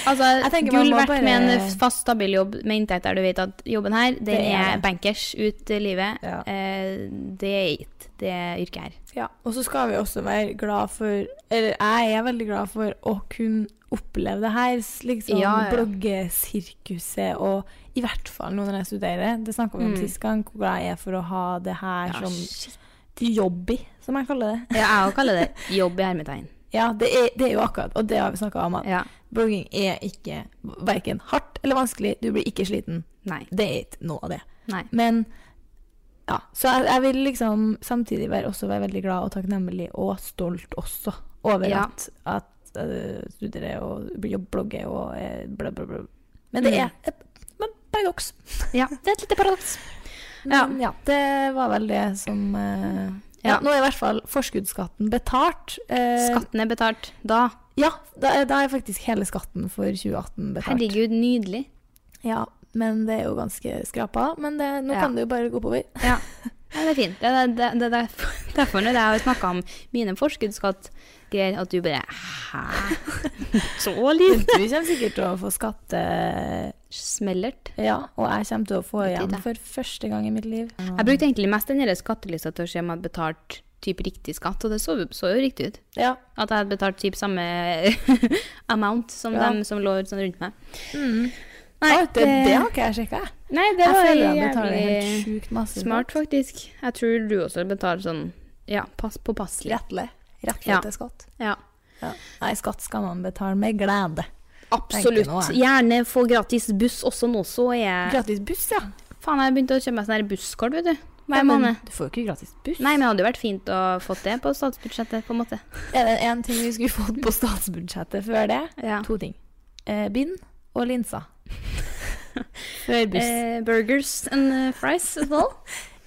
Altså, tenker man gull må verdt bare- med en fast, stabil jobb med inntekt der du vet at jobben her, den Det er er det. bankers ut i livet. Ja. Eh, det er it, det yrket her. ja. Og så skal vi også være glad for Eller jeg er veldig glad for å kunne oppleve det her. s- Liksom Ja, ja. bloggesirkuset og i hvert fall nå når jeg studerer. Det snakka vi om Mm. sist gang, hvor glad jeg er for å ha det her Ja, som shit. jobby, som jeg kaller det. Ja, jeg òg kaller det jobb i hermetegn. Ja, det er, det er jo akkurat, og det har vi snakka om, at Ja. blogging er ikke verken hardt eller vanskelig. Du blir ikke sliten. Nei. Det er ikke noe av det. Nei. Men ja, så jeg, jeg vil liksom samtidig være, også være veldig glad og takknemlig og stolt også over Ja. at, at eh, studere og jobb- blogge og eh, bla, bla, bla. Men det Mm. er et men paradoks. Ja, det er et lite paradoks. Ja. Men ja, det var vel det som eh, ja. Ja. Nå er i hvert fall forskuddsskatten betalt. Eh, Skatten er betalt da. Ja, da, er- da er faktisk hele skatten for 2018 betalt. Herregud, nydelig. Ja, men det er jo ganske skrapa. Men det, nå Ja. kan det jo bare gå oppover. Ja. ja, det er fint. Det er, det, det, det er derfor- derfor når jeg har snakka om mine forskuddsskattgreier, at du bare Hæ? Så Du lite? kommer sikkert til å få skatte... Smellert. Ja, og jeg kommer til å få Litt igjen lite. for første gang i mitt liv. Jeg brukte egentlig mest den der skattelista til å se om jeg hadde betalt typ riktig skatt, og det så, så jo riktig ut. Ja. At jeg hadde betalt typ samme amount som Ja. dem som lå sånn rundt meg. Mm. Nei, eh, Å, det, det har ikke jeg sjekka. jeg. nei, det Jeg var føler jeg betaler helt jævlig sjukt masse. smart, faktisk. Jeg tror du også betaler sånn ja, pass påpasselig. Rettelig. Rettelig Ja. til skatt. Ja. Nei, skatt skal man betale med glede. Tenker nå, Absolutt. jeg. Gjerne få gratis buss også nå, så er jeg Gratis buss, ja. Faen, jeg begynte å kjøpe meg sånn her busskort, vet du. Ja, Hver men måned. Du får jo ikke gratis buss. Nei, men det hadde jo vært fint å fått det på statsbudsjettet, på en måte. Er det én ting vi skulle fått på statsbudsjettet før det? Ja. To ting. Eh, bind og linser. før buss. Eh, burgers and eh, fries as well.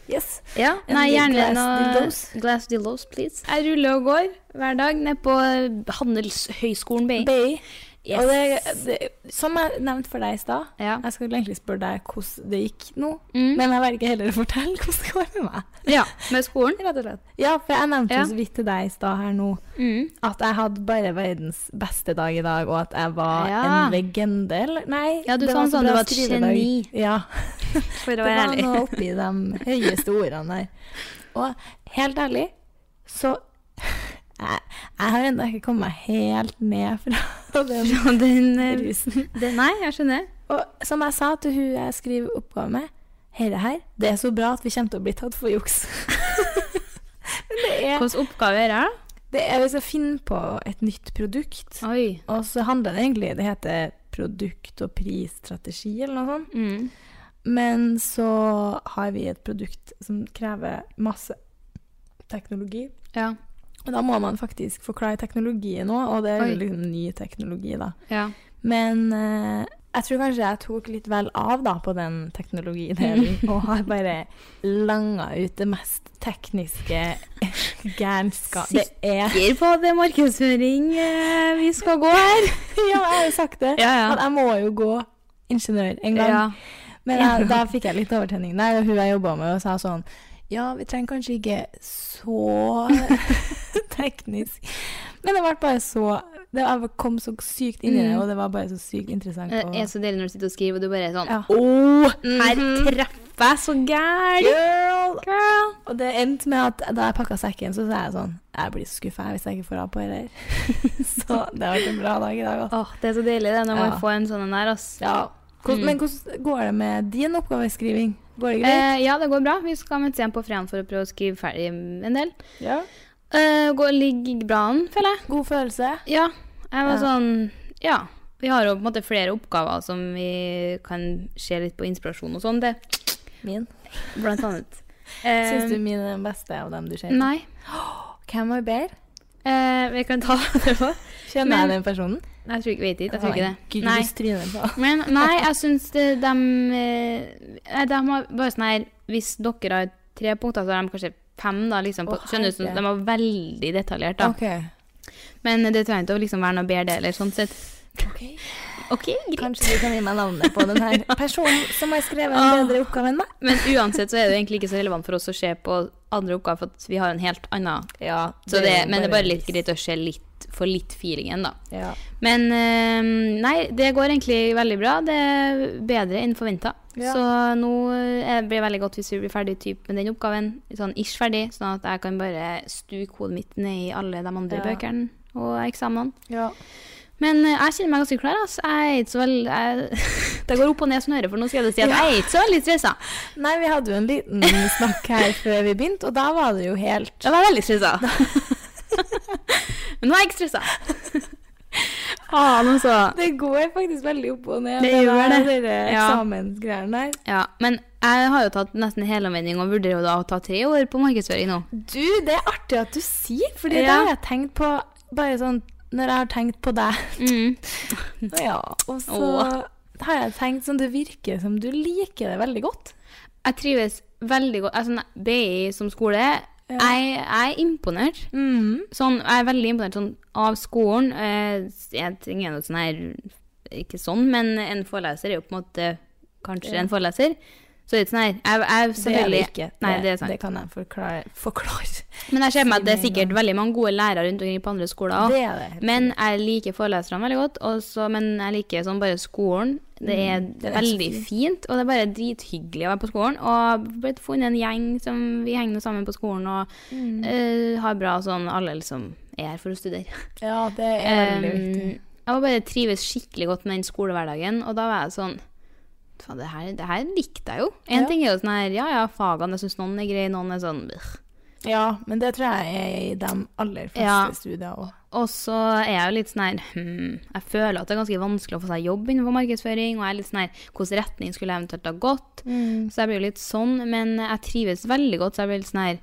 yes. ja. And Nei, the gjerne glass noe dildos. Glass dildos, please. Jeg ruller og går hver dag ned på Handelshøyskolen BI. Bay. Yes. Og det, det, som jeg nevnte for deg i stad, ja. jeg skulle egentlig spørre deg hvordan det gikk nå. Mm. Men jeg velger heller å fortelle hvordan det går med meg. ja. Med skolen. Rett og slett. Ja, for jeg nevnte jo Ja. så vidt til deg i stad her nå Mm. at jeg hadde bare verdens beste dag i dag, og at jeg var Ja. en legende. eller- Nei, Ja, du det sa var sånn, bra du var et skrivedag. geni. Ja, For å det være var ærlig. noe oppi de høyeste ordene der. Og helt ærlig, så jeg, jeg har ennå ikke kommet meg helt ned fra den Fra den, eh, rusen. den Nei, jeg skjønner. Og som jeg sa til hun jeg skriver oppgave med, hele her, det er så bra at vi kommer til å bli tatt for juks. Men det er, Hvilke oppgaver er det? her, det er hvis jeg finner på et nytt produkt, da? Oi. og så handler det egentlig, det heter produkt- og prisstrategi eller noe sånt, Mm. men så har vi et produkt som krever masse teknologi, Ja. og da må man faktisk forklare teknologien også, og det er Oi. jo liksom ny teknologi da. Ja. Men eh, Jeg tror kanskje jeg tok litt vel av da, på den teknologidelen, og har bare langa ut det mest tekniske gærenskap det er. Sikker på at det er markedsføring eh, vi skal gå her. Ja, jeg har jo sagt det. Ja, At jeg må jo gå ingeniør en gang. Ja. Men jeg, da fikk jeg litt overtenning. Nei, og hun jeg jobba med, og sa sånn Ja, vi trenger kanskje ikke så teknisk Men det ble bare så det, Jeg kom så sykt inn i det, Mm. og det var bare så sykt interessant. Det å- Eh, er så deilig når du sitter og skriver, og du bare er sånn Ja. Åh, her Mhm. treffer jeg så gæren! Girl! Og det endte med at da jeg pakka sekken, så sa jeg sånn Jeg blir så skuffa hvis jeg ikke får av på det her. så det har vært en bra dag i dag. Altså. Åh, det er så deilig det, når Ja. man får en sånn en der, ass. Hvordan- Mm. Men hvordan går det med din oppgaveskriving? Går det greit? Eh, ja, det går bra. Vi skal møtes igjen på fredag for å prøve å skrive ferdig en del. ja. Eh, går, ligger bra an, føler jeg. God følelse? Ja. Jeg var Ja. sånn Ja. Vi har jo på en måte flere oppgaver som vi kan se litt på inspirasjon og sånn, det. Min. Blant annet. Syns du min er den beste av dem du ser? Eh, Nei. Hvem var bedre? Eh, vi kan ta det på. Kjenner Men- jeg den personen? Jeg tror ikke, vet ikke, jeg tror ikke det. Nei. Grus trynet på. Men nei, jeg syns det- dem eh, Nei, dem har bare sånn her Hvis dere har tre punkter, så har de kanskje fem, da, liksom. På, Å, skjønner du? Sånn, herre. de var veldig detaljert, da. OK. Men det trenger ikke å liksom være noe bedre eller sånn sett. Ok, greit. Kanskje du kan gi meg navnet på den her personen som har skrevet en Åh. bedre oppgave enn meg? Men uansett så er det jo egentlig ikke så relevant for oss å se på andre oppgaver, for at vi har en helt annen. Ja, Så det, men det er bare litt greit å se litt, få litt feelingen, da. Ja. Men eh, nei, det går egentlig veldig bra. Det er bedre enn forventa. Ja. Så nå eh, blir det veldig godt hvis vi blir ferdig typ, med den oppgaven, sånn ish ferdig, sånn at jeg kan bare stuke hodet mitt ned i alle de andre Ja. bøkene og eksamenene. ja. Men eh, jeg kjenner meg ganske klar. ass. Jeg er ikke så veldig, jeg, det går opp og ned som øret, for nå skal jeg si at jeg er ikke så veldig stressa. Nei, vi hadde jo en liten snakk her før vi begynte, og da var det jo helt Jeg var veldig stressa. Men nå er jeg ikke stressa. Faen, altså. Det går faktisk veldig opp og ned. Det gjør der- det. der Ja. Eksamensgreiene der. Ja, men jeg har jo tatt nesten helomvending og vurderer jo da å ta tre år på markedsføring nå. Du, det er artig at du sier, for det Ja. har jeg tenkt på bare sånn når jeg har tenkt på deg. Ja, og så Åh. har jeg tenkt sånn Det virker som du liker det veldig godt. Jeg trives veldig godt. Altså, nei, BI som skole, Ja. jeg, jeg er imponert. Sånn, jeg er veldig imponert sånn, av skolen. Eh, Jeg trenger noe sånn her Ikke sånn, men en foreleser er jo på en måte kanskje Ja. en foreleser. Så det er ikke sånn her jeg, jeg, Det er det selvfølgelig, ikke. Nei, det er det sant. kan jeg forklare. forklare. Men jeg ser for meg at det Sier med er en sikkert veldig mange gode lærere rundt omkring på andre skoler også. Det er det. Men jeg liker foreleserne veldig godt, og så- men jeg liker sånn bare skolen. Det er Mm, den er så veldig fin. fint, og det er bare drithyggelig å være på skolen. Og jeg har blitt funnet en gjeng som vi henger sammen på skolen, og Mm. eh, har bra sånn alle liksom er her for å studere. Ja, det er veldig viktig. Um, jeg var bare trives skikkelig godt med den skolehverdagen, og da var jeg sånn Faen, det her, det her likte jeg jo. En Ja. ting er jo sånn her, ja ja, fagene, jeg syns noen er greie, noen er sånn "Ugh." Ja, men det tror jeg er i de aller fleste Ja. studier òg. Og så er jeg jo litt sånn her hmm, Jeg føler at det er ganske vanskelig å få seg jobb innenfor markedsføring. Og jeg er litt sånn her Hvilken retning skulle jeg eventuelt ha gått? Mm. Så jeg blir jo litt sånn, men jeg trives veldig godt. Så jeg blir litt sånn her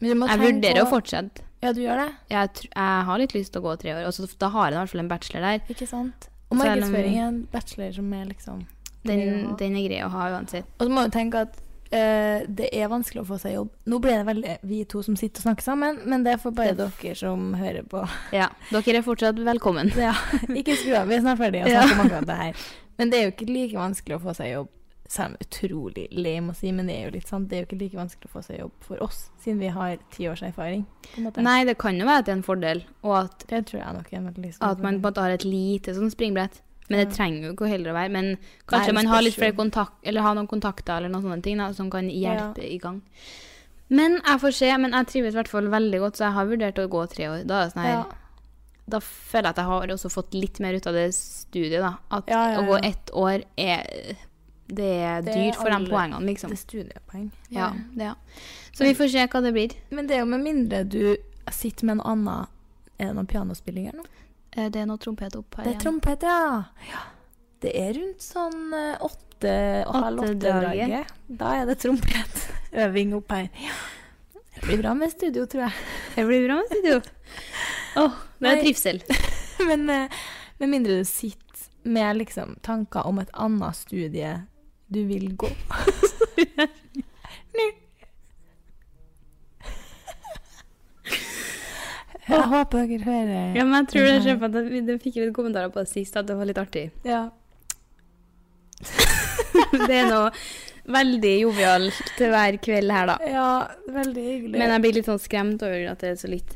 Men du må Jeg tenke vurderer å på- fortsette. Ja, du gjør det? Jeg, tr jeg har litt lyst til å gå tre år. Og så da har jeg i hvert fall en bachelor der. Ikke sant? Og Så er det markedsføring er en bachelor som er liksom Den, Ja. den er grei å ha uansett. Og så må du tenke at eh, det er vanskelig å få seg jobb. Nå ble det veldig vi to som sitter og snakker sammen, men det er for bare dere som hører på. Ja. Dere er fortsatt velkommen. Ja, ikke skru av, vi er snart ferdige å Ja. snakke om akkurat det her. Men det er jo ikke like vanskelig å få seg jobb, selv om utrolig lame å si, men det er jo litt sant. Det er jo ikke like vanskelig å få seg jobb for oss, siden vi har ti års erfaring. På en måte. Nei, det kan jo være at det er en fordel, og at Det tror jeg nok er en veldig stor At man på en måte har et lite sånn springbrett. Men det Ja. trenger jo ikke heller å være. Men kanskje det man har litt spørs jo. flere kontakt, eller har noen kontakter eller noen sånne ting da, som kan Ja. hjelpe i gang. Men jeg får se, men jeg trives i hvert fall veldig godt, så jeg har vurdert å gå tre år. Da, er det sånn her, Ja. da føler jeg at jeg har også fått litt mer ut av det studiet. da. At Ja, ja, å gå ja. ett år er Det er Det er dyrt for alle- de poengene, Det liksom. er studiepoeng. Ja, det, ja. Så vi får se hva det blir. Men det er jo med mindre du sitter med en annen Er det noen pianospilling her nå? Eh, Det er noe trompet opp her. Det er igjen. trompet, ja. ja. Det er rundt sånn eh, åtte og halv Åttedraget. åtte-draget. Da er det trompetøving opp her. Ja. Det blir bra med studio, tror jeg. Det blir bra med studio. Åh, det Nei. er trivsel. Men eh, med mindre du sitter med liksom tanker om et annet studie du vil gå. Nå. Jeg håper dere hører Ja, men jeg tror jeg ser for meg at vi- det fikk litt kommentarer på det sist, at det var litt artig. Ja. Det er noe veldig jovialt hver kveld her, da. ja, veldig hyggelig. Men jeg blir litt sånn skremt over at det er så litt.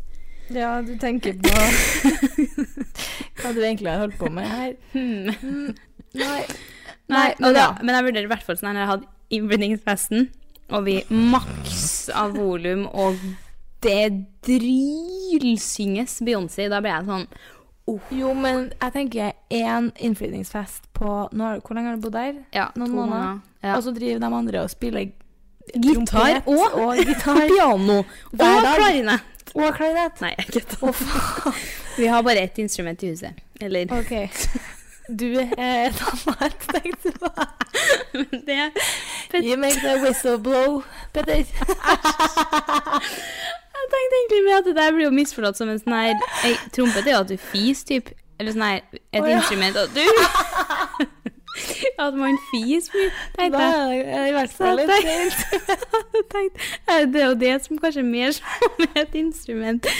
ja, du tenker på hva du egentlig har holdt på med her. Hmm. Mm, nei. Nei, men og da, ja. men jeg vurderer i hvert fall sånn her, jeg hadde innblindingsfesten, og vi maks av volum, og det drylsynges Beyoncé, da blir jeg sånn, Jo, men jeg tenker én innflytningsfest på nå har, Hvor lenge har du bodd der? ja, Noen to måneder. Ja. Og så driver de andre og spiller Gitar trompet og, og gitar. piano, og Hver dag. klarinett. og klarinett. Nei, jeg kødder. Vi har bare ett instrument i huset. Eller OK. Du er et annet, tenkte jeg. Men det You make the whistle blow, Petter. Jeg tenkte egentlig med at det der blir jo misforstått som en sånn her ei, Trompet er jo at du fis, typ. Eller sånn her Et Å, ja. instrument at du At man fis mye, tenkte jeg. Da er det i hvert Så fall jeg litt sent. tenkte, tenkte, eh, det er jo det som kanskje er mer som et instrument.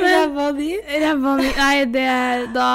Men Ræva di. ræva mi Nei, det Da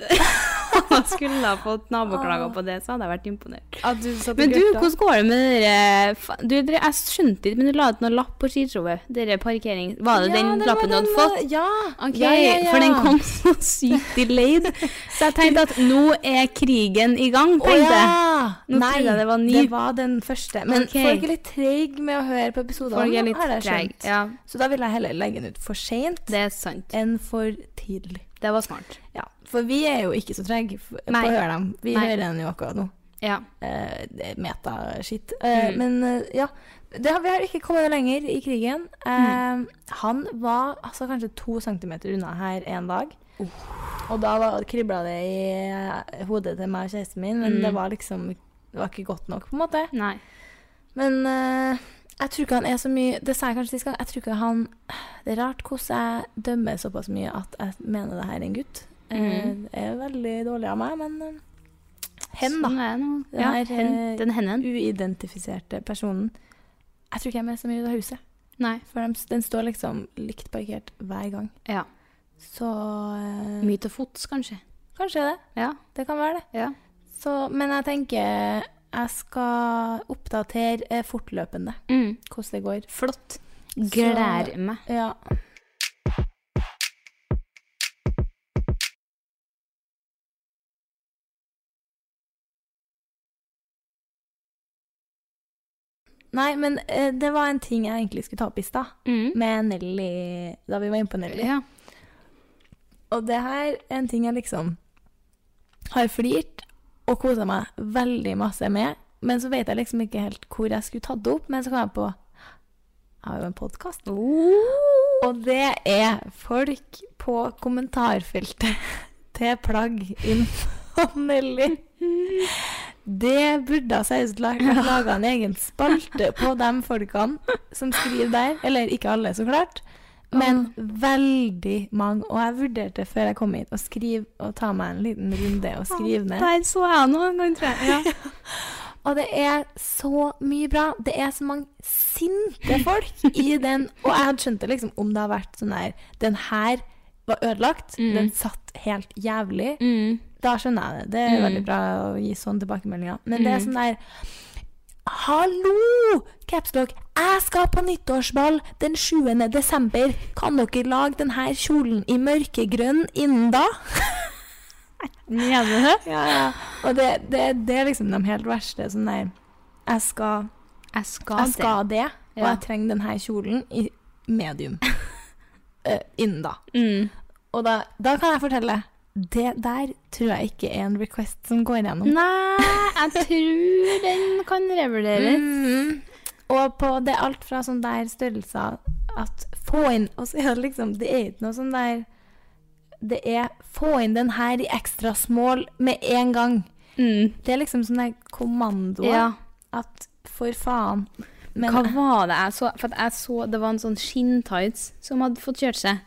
da skulle jeg fått naboklager på det, så hadde jeg vært imponert. At du satt og Men du, gørta. hvordan går det med dere fa- du, dere- Jeg skjønte ikke, men du la ut noen lapp på skishowet. Dere parkering Var det Ja, den det var lappen du hadde den, fått? Ja. Ok, ja, ja, ja. For den kom så sykt delayed. Så jeg tenkte at nå er krigen i gang, Å tenkte jeg. ja! Nå Nei, trodde jeg det var ny. Det var den første. Men Ok. folk er litt treige med å høre på episodene. Folk er har litt jeg treige. skjønt. Ja, Så da vil jeg heller legge den ut for seint det er sant. enn for tidlig. Det var smart. Ja, For vi er jo ikke så trege f- på Nei. å høre dem. Vi Nei. hører den jo akkurat nå. Ja. Eh, det er Meta-shit. Eh, Mm. Men eh, ja. Det har, vi har ikke kommet lenger i krigen. Eh, Mm. Han var altså, kanskje to centimeter unna her en dag. Uh. Og da kribla det i eh, hodet til meg og kjæresten min, men Mm. det var liksom det var ikke godt nok, på en måte. Nei. Men eh, jeg tror ikke han er så mye Det sa jeg kanskje sist gang. Jeg tror ikke han Det er rart hvordan jeg dømmer såpass mye at jeg mener det her er en gutt. Eh, Mhm. Det er veldig dårlig av meg, men eh, hen, da. Sånn er det nå. Den Ja, her, hen, eh, den henden. uidentifiserte personen. Jeg tror ikke jeg er med så mye ut av huset, Nei. for dem- den står liksom likt parkert hver gang. Ja. Så eh, Mye til fots, kanskje. kanskje det. Ja. Det kan være det. ja. Så, men jeg tenker jeg skal oppdatere eh, fortløpende Mm. hvordan det går. Flott. Så- Gleder meg. Ja. Nei, men eh, det var en ting jeg egentlig skulle ta opp i stad, Mm. med Nelly Da vi var inne på Nelly. Ja. Og det her er en ting jeg liksom har flirt og kosa meg veldig masse med, men så vet jeg liksom ikke helt hvor jeg skulle tatt det opp, men så kom jeg på Jeg har jo en podkast. Oh. Og det er folk på kommentarfeltet til plagg innenfor Nelly. Det burde ha seriøst laga en egen spalte på de folkene som skriver der. Eller ikke alle, så klart, men veldig mange. Og jeg vurderte før jeg kom hit å skrive og ta meg en liten runde og skrive ned. Der så jeg noe en gang, tror jeg. Og det er så mye bra. Det er så mange sinte folk i den. Og jeg hadde skjønt det liksom om det har vært sånn der Den her var ødelagt. Mm. Den satt helt jævlig. Ja. Mm. Da skjønner jeg det. Det er Mm. veldig bra å gi sånne tilbakemeldinger. Men det er Mm. sånn der Hallo! Capslock, jeg skal på nyttårsball den 7. desember. Kan dere lage denne kjolen i mørkegrønn innen da? Mener du det? Ja, ja. Og det, det, det er liksom de helt verste. Sånn der Jeg skal Jeg skal, Jeg skal det, og Ja. jeg trenger denne kjolen i medium. Eh, innen da. det. Mm. Og da, da kan jeg fortelle. Det der tror jeg ikke er en request som går gjennom. Nei, jeg tror den kan revurderes. Mm-hmm. Mm. Og på det er alt fra sånn der størrelser at få inn Og så er det liksom Det er ikke noe sånn der Det er få inn den her i ekstra small med en gang. Mm. Det er liksom sånn der kommando Ja. at for faen. Men Hva var det jeg så? For at jeg så det var en sånn skinntights som hadde fått kjørt seg.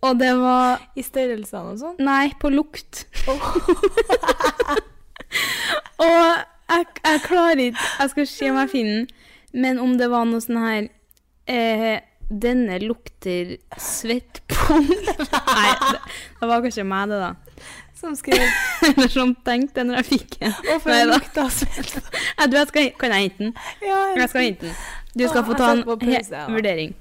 Og det var i størrelsene og sånn Nei, på lukt. Og jeg, jeg klarer ikke Jeg skal se om jeg finner den. Men om det var noe sånn her eh, Denne lukter svettpung. Nei, det, det var kanskje meg, det, da. Som skrev Eller som tenkte jeg når jeg fikk den. Å, for Nei en da. lukt av svett. Jeg tror jeg skal, kan jeg hente den? Ja, Jeg skal hente den. Du skal Å, få jeg ta en setter på he- pause, ja. vurdering.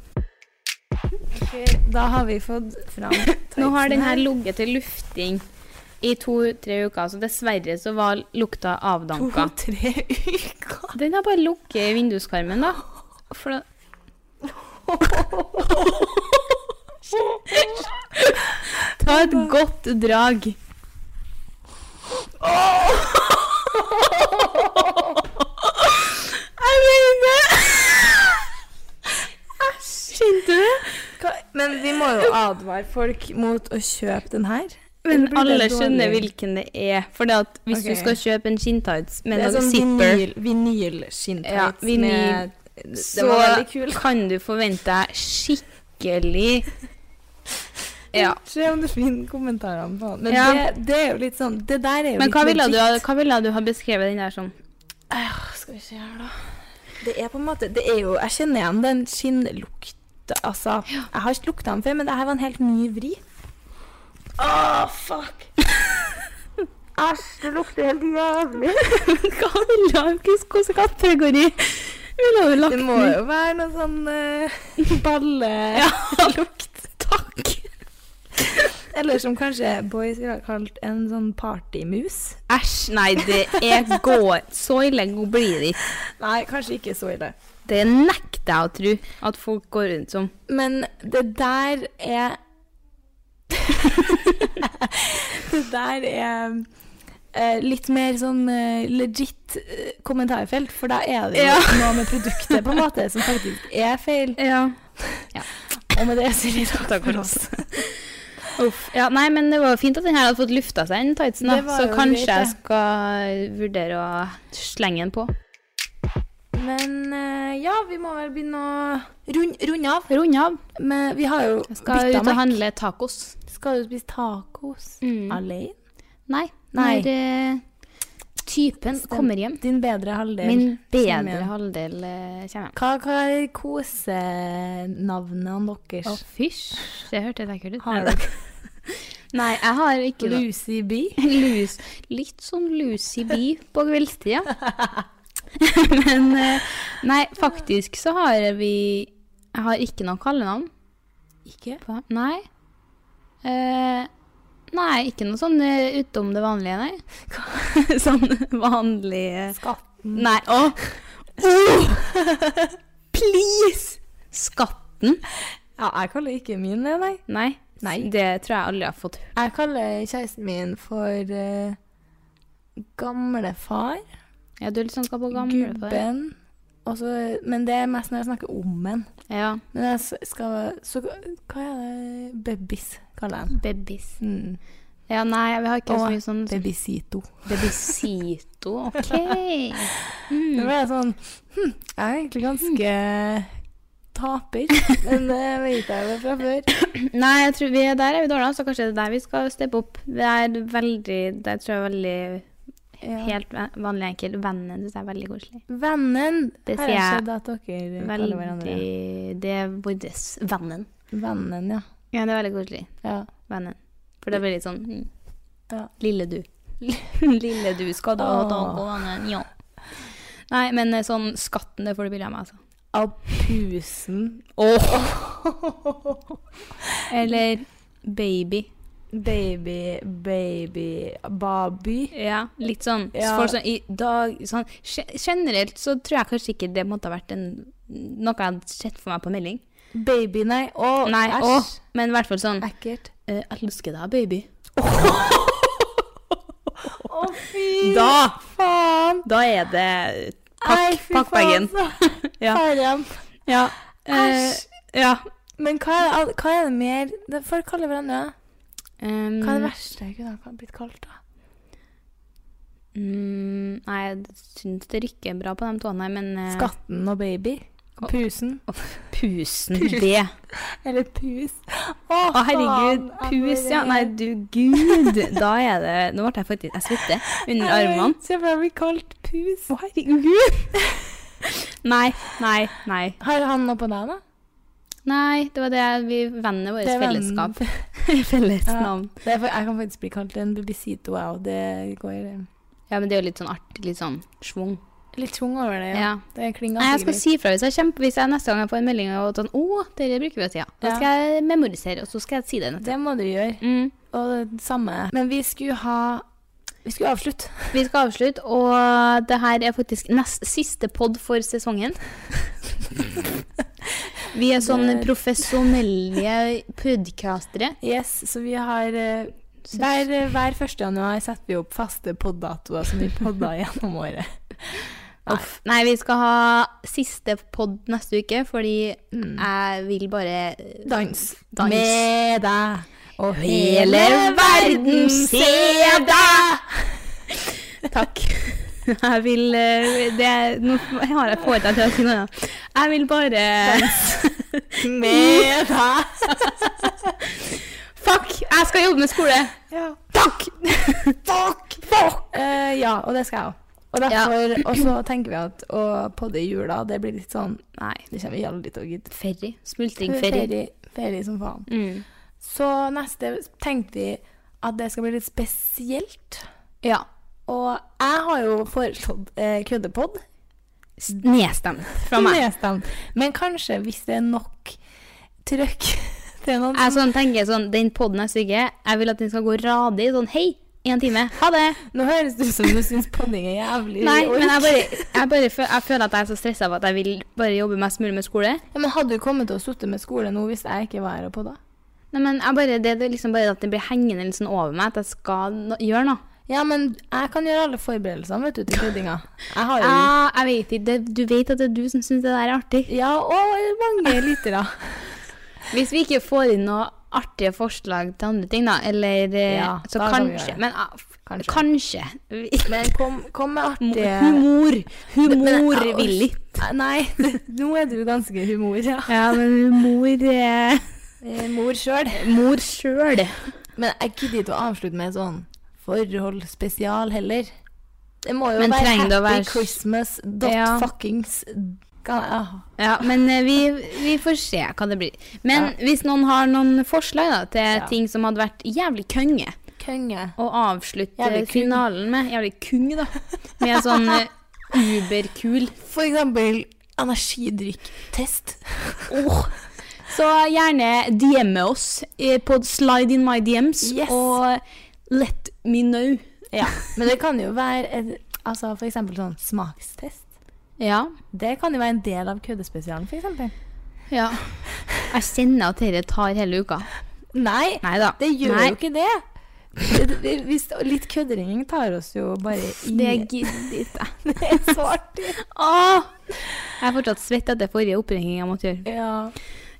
ok, Da har vi fått fram Nå har den her tightsen ligget til lufting i to-tre uker, så dessverre så var lukta avdanka. To-tre uker. Den har bare ligget i vinduskarmen, da. For da Ta et godt drag. Jeg mener Æsj, kjente du? Hva- Men vi må jo advare folk mot å kjøpe den her. Men Eller blir det alle dårlig? skjønner hvilken det er. For det at hvis Ok. du skal kjøpe en skinntights med det er noe sånn zipper vinyl, vinylskinntights Ja, vinyl. med Det så var veldig kul. kan du forvente deg skikkelig Ja. Se om du finner kommentarene på den. Men Ja. det, det er jo litt sånn Det der er jo Men litt hva ville, du, legit. ha- hva ville du ha beskrevet den der som? Skal vi se her, da. Det er på en måte Det er jo Jeg kjenner igjen den skinnlukta, altså. Jeg har ikke lukta den før, men det her var en helt ny vri. Å, fuck! Æsj, det lukter helt jævlig. Hva ville du ha? Hvilken kategori ville du lagt Det må jo være noe sånn uh, ballelukt. Takk! Eller som kanskje boys ville ha kalt en sånn partymus. Æsj, nei, det er går. Så ille blir det ikke. Nei, kanskje ikke så ille. Det nekter jeg å tro at folk går rundt som. Men det der er Det der er eh, litt mer sånn eh, legit eh, kommentarfelt, for da er det jo Ja. noe med produktet på en måte som faktisk er feil. Ja. Og med det sier vi takk for oss. Uff. Ja, nei, men det var jo fint at den her hadde fått lufta seg, den tightsen. da. Det var Så jo kanskje greit, jeg det. skal vurdere å slenge den på. Men eh, ja, vi må vel begynne å rund, runde av. Runde av. Men vi har jo Jeg skal bytta ut og meg. handle tacos. Skal du spise tacos Mm. alene? Nei. Mm. Nei. Når eh, typen Stem. kommer hjem. Din bedre halvdel. Min Kommer bedre hjem. halvdel eh, kommer hjem. Hva, hva er kosenavnene deres? Å, fysj. Det hørtes ekkelt ut. Har Nei, Nei, jeg har ikke noe. Lucy B. Lus. Litt sånn Lucy Bee på kveldstida. Men eh, nei, faktisk så har vi Jeg har ikke noe kallenavn. Ikke? på- Nei. Eh, nei, ikke noe sånn eh, utom det vanlige, nei. sånn vanlig eh, Skatten. Nei, å! Åh! Oh! Please! Skatten? Ja, jeg kaller ikke min det, nei. Nei, Nei. det tror jeg aldri har fått hørt. Jeg kaller kjæresten min for uh, gamlefar, Ja, du er litt sånn skal på gamle på det. gubben. og så- men det er mest når jeg snakker om en. Ja, Men jeg s- skal Så hva er det Babys, kaller jeg den. babies. Mm. Ja, nei, vi har ikke Åh, så mye sånn Babysito. Babysito, ok. Det Mm. ble jeg sånn hm, Jeg er egentlig ganske taper, men det vet jeg jo fra før. Nei, jeg tror vi er der er vi dårlige, så kanskje det er der vi skal steppe opp. Det er veldig, det tror jeg er veldig Ja. helt ve- vanlig enkelt. Vennene synes jeg er veldig koselig. Vennen. Det Her sier har jeg skjedd at dere kaller hverandre Veldig, det er vårt vennen. Vennen, ja. Ja, det er veldig koselig. ja. Vennen. For det blir litt sånn mm. Ja. Lille du. Lille du, skal du ha Åh. tak og vennen? Ja. Nei, men eh, sånn skatten, det får du bilde av meg, altså. Av pusen. Eller baby. Baby, baby, baby. Ja, litt sånn. Ja. Folk sånn i dag sånn, ge- Generelt så tror jeg kanskje ikke det måtte ha vært en, noe jeg hadde sett for meg på melding. Baby, nei. Å, Nei, å, æsj. men i hvert fall sånn Ekkelt. eh, Jeg elsker deg, baby. Å, fy Da, faen. da er det Nei, Pakk, fy pakk faen, bagen. så- Ja. Faen. Ja. Eh, Æsj. ja. Men hva er, det- hva er det mer det- Folk kaller hverandre Um, Hva er det verste jeg kunne ha blitt kalt, da? Mm, nei, jeg syns det rykker bra på de tåene, men eh, Skatten og baby? Pusen. Pusen, Pus. det. Eller pus. Å, herregud. Pus, ja. Nei, du gud. Da er det Nå ble jeg faktisk Jeg svetter under armene. Se for deg å bli kalt pus. Å, herregud. Nei, nei, nei. Har han noe på deg, da? Nei, det var det vi Vennene våre. Det er vennen. Fellesskap. Felles Ja. navn. Det er for, jeg kan faktisk bli kalt en bubisito, jeg òg. Det går eh, Ja, men det er jo litt sånn artig. Litt sånn schwung. litt tung over det. Ja. Ja. Det klinger Nei, jeg skal sikkert. si fra hvis jeg, kjemper, hvis jeg neste gang jeg får en melding og sånn, å, dere bruker vi jo tida. Da Ja. skal jeg memorisere, og så skal jeg si det. neste. Det må du gjøre. Mm. Og det samme Men vi skulle ha Vi skulle avslutte. Vi skal avslutte, og det her er faktisk nest siste pod for sesongen. vi er sånn Det- profesjonelle podcastere. Yes, så vi har eh, Hver, hver 1. januar setter vi opp faste poddatoer som vi podder gjennom året. Uff. Nei, vi skal ha siste pod neste uke, fordi Mm. jeg vil bare Dans. Dans. Med deg. Og Hele verden se deg! Takk. Jeg vil eh, det, Nå har jeg fått deg til å si noe annet. Jeg vil bare Med deg. Fuck! Jeg skal jobbe med skole. Ja. Takk! Fuck! Eh, ja, og det skal jeg òg. Og derfor, og så tenker vi at å podde i jula, det blir litt sånn Nei. Det kommer vi aldri til å gidde. Ferry. Smultringferry. Ferie som faen. Mm. Så neste tenkte vi at det skal bli litt spesielt. Ja. Og jeg har jo foreslått eh, køddepod. S- Nedstemt fra meg. Nedstemt. Men kanskje, hvis det er nok trøkk til noen Jeg sånn tenker sånn, Den podden neste uke, jeg vil at den skal gå radig. Sånn hei, én time. Ha det. Nå høres det ut som du syns podding er jævlig Nei, ork. men jeg bare, jeg bare føl, jeg føler at jeg er så stressa av at jeg vil bare jobbe mest mulig med skole. ja, Men hadde du kommet til å sitte med skole nå hvis jeg ikke var her og podda? Nei, men jeg bare, det, det er liksom bare at det blir hengende litt sånn over meg, at jeg skal no gjøre noe. Ja, men jeg kan gjøre alle forberedelsene, vet du, til køddinga. Jeg har jo Ja, jeg vet ikke, det, Du vet at det er du som syns det der er artig. Ja, og mange lyttere. Hvis vi ikke får inn noe artige forslag til andre ting, da, eller eh, Ja, Så da kan vi gjøre kanskje det. Men ah, f- Kanskje. kanskje. Vi- Men kom, kom med artige Humor. Humorvillig. Humorvillig. Nei, nå er du ganske humor, ja. Ja, men humor eh, Eh, Mor sjøl. Mor sjøl. Men jeg gidder ikke å avslutte med sånn forholdsspesial heller. Det må jo Men være trenger happy det å være- Christmas dot Ja. fuckings Kan- ah. Ja, men eh, vi, vi får se hva det blir. Men hvis noen har noen forslag da, til Ja. ting som hadde vært jævlig kønge Konge. å avslutte Jævlig kung. finalen med Jævlig kung, da. Med sånn eh, uberkul For eksempel energidrikktest. Åh. Så gjerne DM-e oss eh, på slide in my DMs Yes. og let me know. Ja. Men det kan jo være et, altså for eksempel sånn smakstest. Ja. Det kan jo være en del av køddespesialen, for eksempel. ja. Jeg kjenner at dette tar hele uka. Nei, Nei da. det gjør Nei. jo ikke det. Det- det- Hvis, litt køddering tar oss jo bare inn Det gidder ikke jeg. Det er så artig. Åh! Jeg er fortsatt svett etter forrige oppringning jeg måtte gjøre. Ja.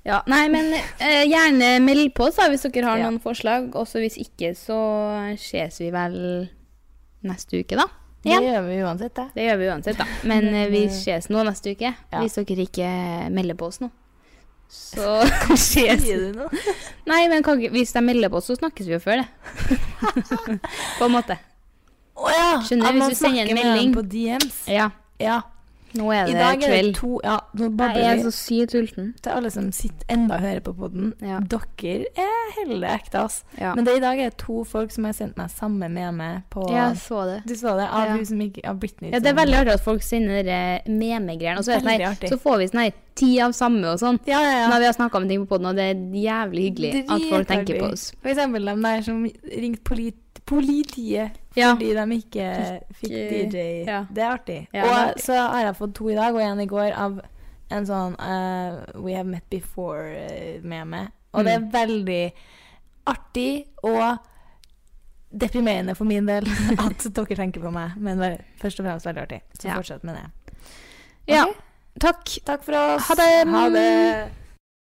Ja, nei, men eh, gjerne meld på oss da, hvis dere har Ja. noen forslag. Også hvis ikke, så ses vi vel neste uke, da. Det Ja. gjør vi uansett, det. Det gjør vi uansett, da. Men eh, vi Men, eh, ses nå neste uke. ja. Hvis dere ikke melder på oss nå. Så ses Sier du noe? Nei, men kan, ikke- hvis de melder på oss, så snakkes vi jo før det. på en måte. Å ja. Skjønner, at hvis man du sender en snakker med dem melding. På DMs. Ja. Ja. Nå er I det dag er det kveld. to Ja, nå Jeg babler er vi. så sykt sulten. Til alle som sitter enda og hører på podden. Ja. Dere er heller ekte, ass. Ja. Men det i dag er to folk som har sendt meg samme meme på Jeg så det. Du så det? Av Ja. hun som ikke Av Britney. Ja, det er veldig artig at folk sender eh, meme-greier. Og så, er det sånn sånn. Veldig her- artig. så får vi sånn her ti av samme og sånn. Ja, ja, ja. Når vi har snakka om ting på poden, og det er jævlig hyggelig at folk tenker på Dritartig. oss. For eksempel de der som ringte polit politiet Ja. fordi de ikke fikk Fikk, DJ. ja. Det er artig. Ja, og det er artig. så har jeg fått to i dag, og en i går, av en sånn eh, We have met before eh, med meg. Og det Mm. er veldig artig og deprimerende for min del at dere tenker på meg, men bare, først og fremst veldig artig. Så Ja. fortsett med det. Ja. Ok, Takk. Takk for oss. Ha det. Ha det.